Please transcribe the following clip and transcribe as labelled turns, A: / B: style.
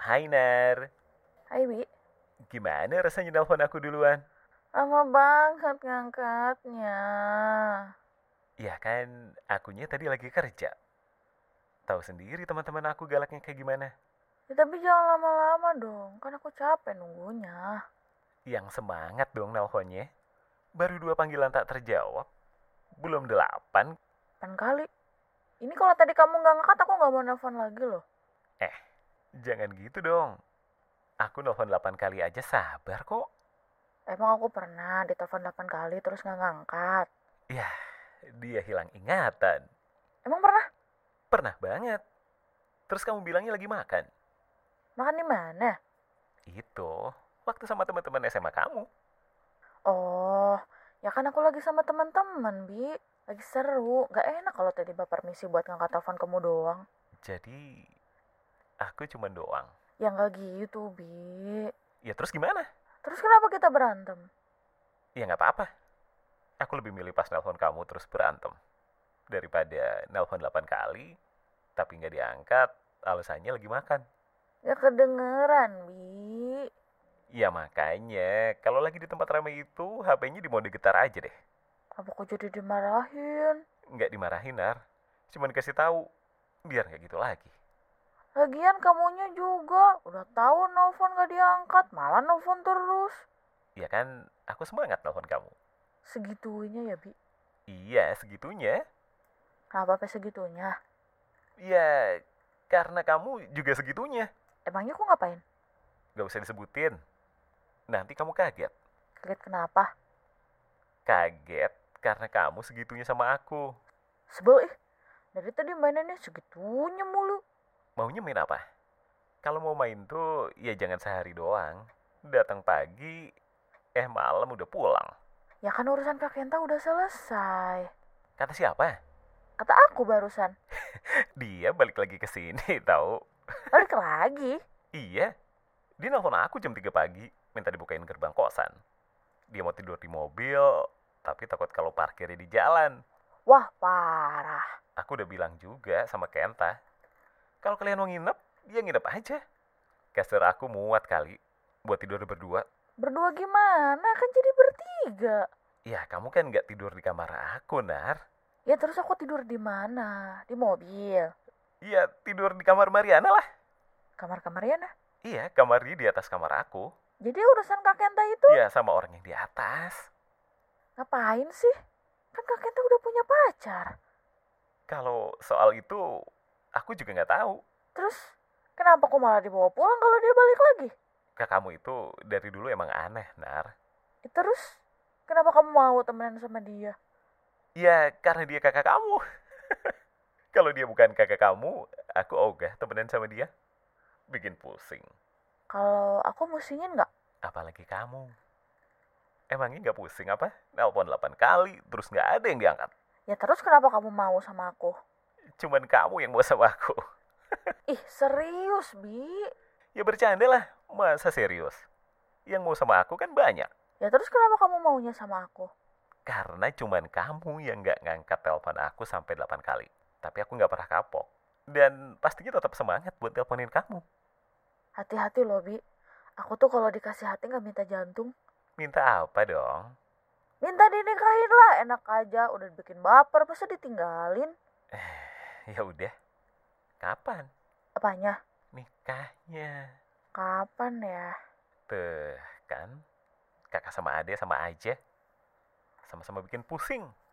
A: Hai Nar,
B: Hai Wi,
A: gimana rasanya nelpon aku duluan?
B: lama banget ngangkatnya.
A: Ya kan, akunya tadi lagi kerja. Tahu sendiri teman-teman aku galaknya kayak gimana.
B: Ya, tapi jangan lama-lama dong, kan aku capek nunggunya.
A: Yang semangat dong nelponnya. Baru dua panggilan tak terjawab. Belum delapan.
B: Pan kali. Ini kalau tadi kamu nggak ngangkat, aku nggak mau nelfon lagi loh.
A: Eh, Jangan gitu dong. Aku nelpon delapan kali aja sabar kok.
B: Emang aku pernah ditelepon 8 kali terus nggak ngangkat.
A: Yah, dia hilang ingatan.
B: Emang pernah?
A: Pernah banget. Terus kamu bilangnya lagi makan.
B: Makan di mana?
A: Itu, waktu sama teman-teman SMA kamu.
B: Oh, ya kan aku lagi sama teman-teman, Bi. Lagi seru. Nggak enak kalau tiba-tiba permisi buat ngangkat telepon kamu doang.
A: Jadi, aku cuman doang.
B: Ya nggak gitu, Bi.
A: Ya terus gimana?
B: Terus kenapa kita berantem?
A: Ya nggak apa-apa. Aku lebih milih pas nelpon kamu terus berantem. Daripada nelpon 8 kali, tapi nggak diangkat, alasannya lagi makan.
B: Nggak kedengeran, Bi.
A: Ya makanya, kalau lagi di tempat ramai itu, HP-nya di mode getar aja deh.
B: Apa aku jadi dimarahin?
A: Nggak dimarahin, Nar. Cuman kasih tahu biar nggak gitu lagi.
B: Lagian kamunya juga udah tahu nelfon gak diangkat, malah nelfon terus.
A: Ya kan, aku semangat nelpon kamu.
B: Segitunya ya, Bi.
A: Iya, segitunya.
B: Kenapa sampai segitunya?
A: Ya, karena kamu juga segitunya.
B: Emangnya aku ngapain?
A: Nggak usah disebutin. Nanti kamu kaget.
B: Kaget kenapa?
A: Kaget karena kamu segitunya sama aku.
B: Sebel ih. Dari tadi mainannya segitunya mulu.
A: Maunya main apa? Kalau mau main tuh ya jangan sehari doang. Datang pagi, eh malam udah pulang.
B: Ya kan urusan Kak Kenta udah selesai.
A: Kata siapa?
B: Kata aku barusan.
A: Dia balik lagi ke sini tahu.
B: Balik lagi.
A: Iya. Dia nelpon aku jam 3 pagi, minta dibukain gerbang kosan. Dia mau tidur di mobil, tapi takut kalau parkirnya di jalan.
B: Wah, parah.
A: Aku udah bilang juga sama Kenta. Kalau kalian mau nginep, dia nginep aja. Kasur aku muat kali buat tidur berdua.
B: Berdua gimana? Kan jadi bertiga.
A: Ya, kamu kan nggak tidur di kamar aku, Nar.
B: Ya terus aku tidur di mana? Di mobil.
A: Iya, tidur di kamar Mariana lah.
B: Kamar-kamar Yana.
A: Iya, kamar dia di atas kamar aku.
B: Jadi urusan Kak Kenta itu
A: Iya, sama orang yang di atas.
B: ngapain sih? Kan Kak Kenta udah punya pacar.
A: Kalau soal itu, aku juga nggak tahu.
B: Terus kenapa aku malah dibawa pulang kalau dia balik lagi?
A: Kak kamu itu dari dulu emang aneh, Nar.
B: Ya, terus kenapa kamu mau temenan sama dia?
A: Iya, karena dia kakak kamu. Kalau dia bukan kakak kamu, aku ogah temenan sama dia. Bikin pusing.
B: Kalau aku musingin nggak?
A: Apalagi kamu. Emangnya nggak pusing apa? Nelpon 8 kali, terus nggak ada yang diangkat.
B: Ya terus kenapa kamu mau sama aku?
A: Cuman kamu yang mau sama aku.
B: Ih serius Bi?
A: Ya bercanda lah, masa serius? Yang mau sama aku kan banyak.
B: Ya terus kenapa kamu maunya sama aku?
A: Karena cuman kamu yang nggak ngangkat telepon aku sampai 8 kali. Tapi aku nggak pernah kapok. Dan pastinya tetap semangat buat teleponin kamu.
B: Hati-hati loh Bi. Aku tuh kalau dikasih hati nggak minta jantung.
A: Minta apa dong?
B: Minta dinikahin lah enak aja. Udah bikin baper masa ditinggalin.
A: Ya udah. Kapan
B: Apanya?
A: nikahnya?
B: Kapan ya?
A: Tuh, kan? Kakak sama Ade sama aja. Sama-sama bikin pusing.